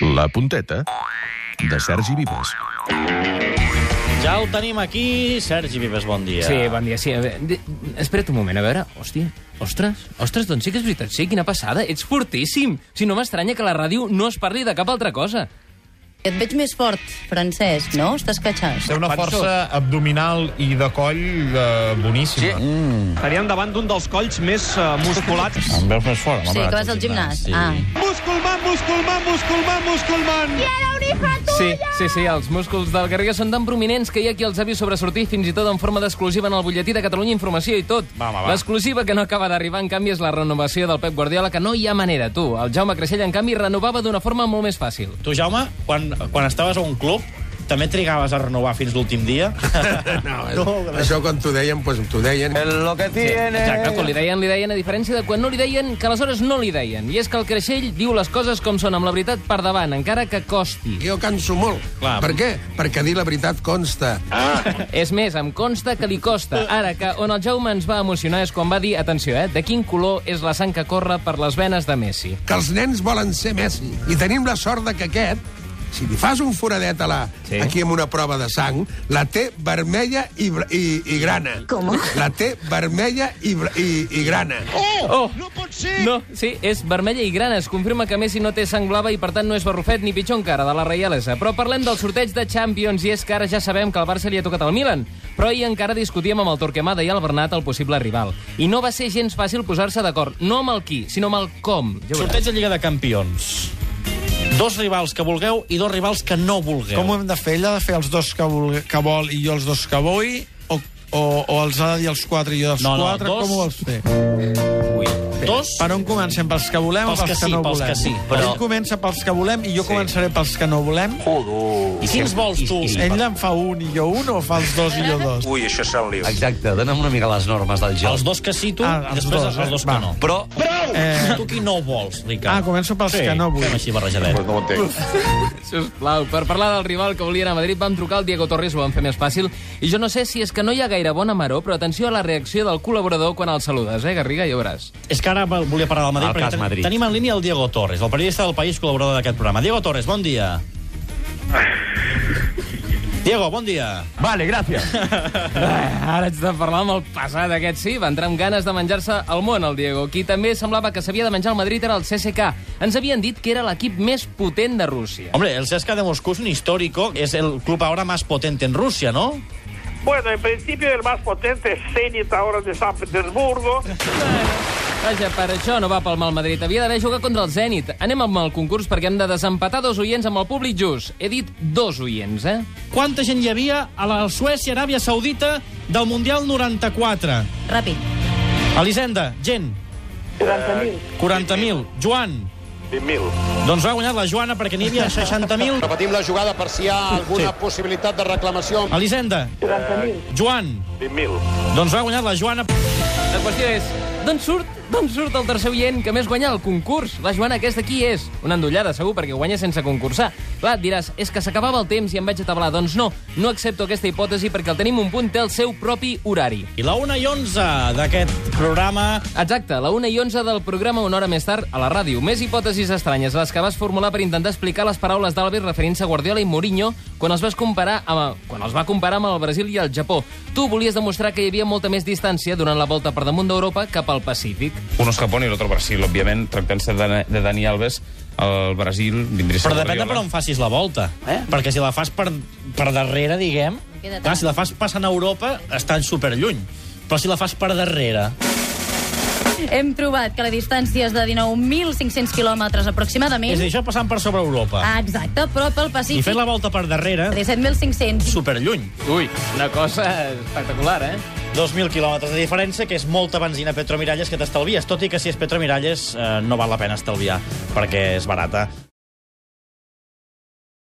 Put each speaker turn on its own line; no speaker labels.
La punteta de Sergi Vives.
Ja el tenim aquí. Sergi Vives, bon dia.
Sí, bon dia, sí. A veure, de- espera't un moment, a veure... Hòstia, ostres, ostres, doncs sí que és veritat, sí, quina passada. Ets fortíssim. Si no m'estranya que a la ràdio no es parli de cap altra cosa.
Et veig més fort, Francesc, no? Estàs catxat.
Té una força abdominal i de coll eh, boníssima. Sí.
Estaríem davant d'un dels colls més uh, musculats.
Em veus més fort,
Sí, que vas al gimnàs. Sí. Ah.
musculman, musculman, musculman, musculman.
Sí, sí, sí, els músculs del Garriga són tan prominents que hi ha qui els ha vist sobresortir fins i tot en forma d'exclusiva en el butlletí de Catalunya Informació i tot.
Va, home, va.
L'exclusiva que no acaba d'arribar, en canvi, és la renovació del Pep Guardiola, que no hi ha manera, tu. El Jaume Creixell, en canvi, renovava d'una forma molt més fàcil.
Tu, Jaume, quan, quan estaves a un club, també trigaves a renovar fins l'últim dia?
No, això quan t'ho deien, doncs t'ho deien.
Exacte, quan li deien, li deien, a diferència de quan no li deien, que aleshores no li deien. I és que el Creixell diu les coses com són, amb la veritat per davant, encara que costi.
Jo canso molt.
Clar.
Per què? Perquè dir la veritat consta.
És més, em consta que li costa. Ara, que on el Jaume ens va emocionar és quan va dir, atenció, eh, de quin color és la sang que corre per les venes de Messi.
Que els nens volen ser Messi. I tenim la sort de que aquest, si li fas un foradet a la, sí. aquí amb una prova de sang, la té vermella i, br- i, i grana. Com? La té vermella i, br- i, i grana.
Oh!
No pot ser!
No, sí, és vermella i grana. Es confirma que Messi no té sang blava i, per tant, no és barrufet ni pitjor encara de la reialesa. Però parlem del sorteig de Champions i és que ara ja sabem que el Barça li ha tocat al Milan. Però ahir encara discutíem amb el Torquemada i el Bernat el possible rival. I no va ser gens fàcil posar-se d'acord, no amb el qui, sinó amb el com. Ja ho veuràs.
Sorteig de Lliga de Campions. Dos rivals que vulgueu i dos rivals que no vulgueu.
Com ho hem de fer? Ella ha de fer els dos que vol, que vol i jo els dos que vull? O, o, o els ha de dir els quatre i jo els
No, no,
quatre?
dos-
Com ho vols fer?
Ui. Dos?
Per on comencem? Pels que volem
Pels
o
que
pels que,
sí,
no
pels
volem?
que sí, però-
Ell comença pels que volem i jo sí. començaré pels que no volem.
I quins vols, tu?
Ell en fa un i jo un o fa els dos i jo dos?
Ui, això serà un lío.
Exacte, dona'm una mica les normes del joc.
Els dos que sí, tu,
Ah,
i
els
després
dos, eh?
els dos que
Va.
no.
Però
Eh... Tu qui no vols, Ricard?
Ah, començo pels
sí,
que no vull.
Fem així barrejadet. No.
Sisplau, per parlar del rival que volia anar a Madrid vam trucar al Diego Torres, ho vam fer més fàcil. I jo no sé si és que no hi ha gaire bona maró, però atenció a la reacció del col·laborador quan el saludes, eh, Garriga, ja ho veuràs.
És que ara vol- volia parlar del Madrid,
El
perquè
cas Madrid.
tenim en línia el Diego Torres, el periodista del País, col·laborador d'aquest programa. Diego Torres, bon dia. Diego, bon dia.
Vale, gràcies.
Ah, Ara ets de parlar amb el pesat aquest, sí. Va entrar amb ganes de menjar-se el món, el Diego. Qui també semblava que s'havia de menjar el Madrid era el CSK. Ens havien dit que era l'equip més potent de Rússia.
Hombre, el CSKA de Moscú es un histórico, es el club ahora más potente en Rusia, ¿no?
Bueno, en principio el más potente es Zenit ahora de San Petersburgo.
Vaja, per això no va pel mal Madrid. Havia d'haver jugat contra el Zenit. Anem amb el concurs perquè hem de desempatar dos oients amb el públic just. He dit dos oients, eh?
Quanta gent hi havia a la Suècia, Aràbia Saudita, del Mundial 94?
Ràpid.
Elisenda, gent. 40.000. 40.000. Joan. 20.000. Doncs ha guanyat la Joana perquè n'hi havia 60.000.
Repetim la jugada per si hi ha alguna sí. possibilitat de reclamació.
Elisenda. 40.000. Joan. 20.000. Doncs ha guanyat la Joana.
La qüestió és, d'on surt, d'on surt el tercer oient que més guanya el concurs? La Joana aquesta qui és? Una endollada, segur, perquè guanya sense concursar. Clar, et diràs, és que s'acabava el temps i em vaig atablar. Doncs no, no accepto aquesta hipòtesi perquè el tenim un punt té el seu propi horari.
I la 1 i 11 d'aquest programa
Exacte, la 1 i 11 del programa una hora més tard a la ràdio. Més hipòtesis estranyes, les que vas formular per intentar explicar les paraules d'Alves referint-se a Guardiola i Mourinho quan els, vas comparar amb, quan els va comparar amb el Brasil i el Japó. Tu volies demostrar que hi havia molta més distància durant la volta per damunt d'Europa cap al Pacífic.
Un és Japón i l'altre Brasil, òbviament. Tractant-se de, Na- de Dani Alves, el Brasil vindria a ser
Però depèn de per
Guardiola.
on facis la volta. Eh? Perquè si la fas per, per darrere, diguem...
queda
Clar,
tant.
si la fas passant a Europa, està superlluny. Però si la fas per darrere...
Hem trobat que la distància és de 19.500 quilòmetres aproximadament.
És a dir, això passant per sobre Europa.
Ah, exacte, però pel
I
Pacífic...
fent la volta per darrere,
17.500.
superlluny.
Ui, una cosa espectacular, eh?
2.000 quilòmetres de diferència, que és molta benzina Petro Miralles que t'estalvies, tot i que si és Petro Miralles eh, no val la pena estalviar, perquè és barata.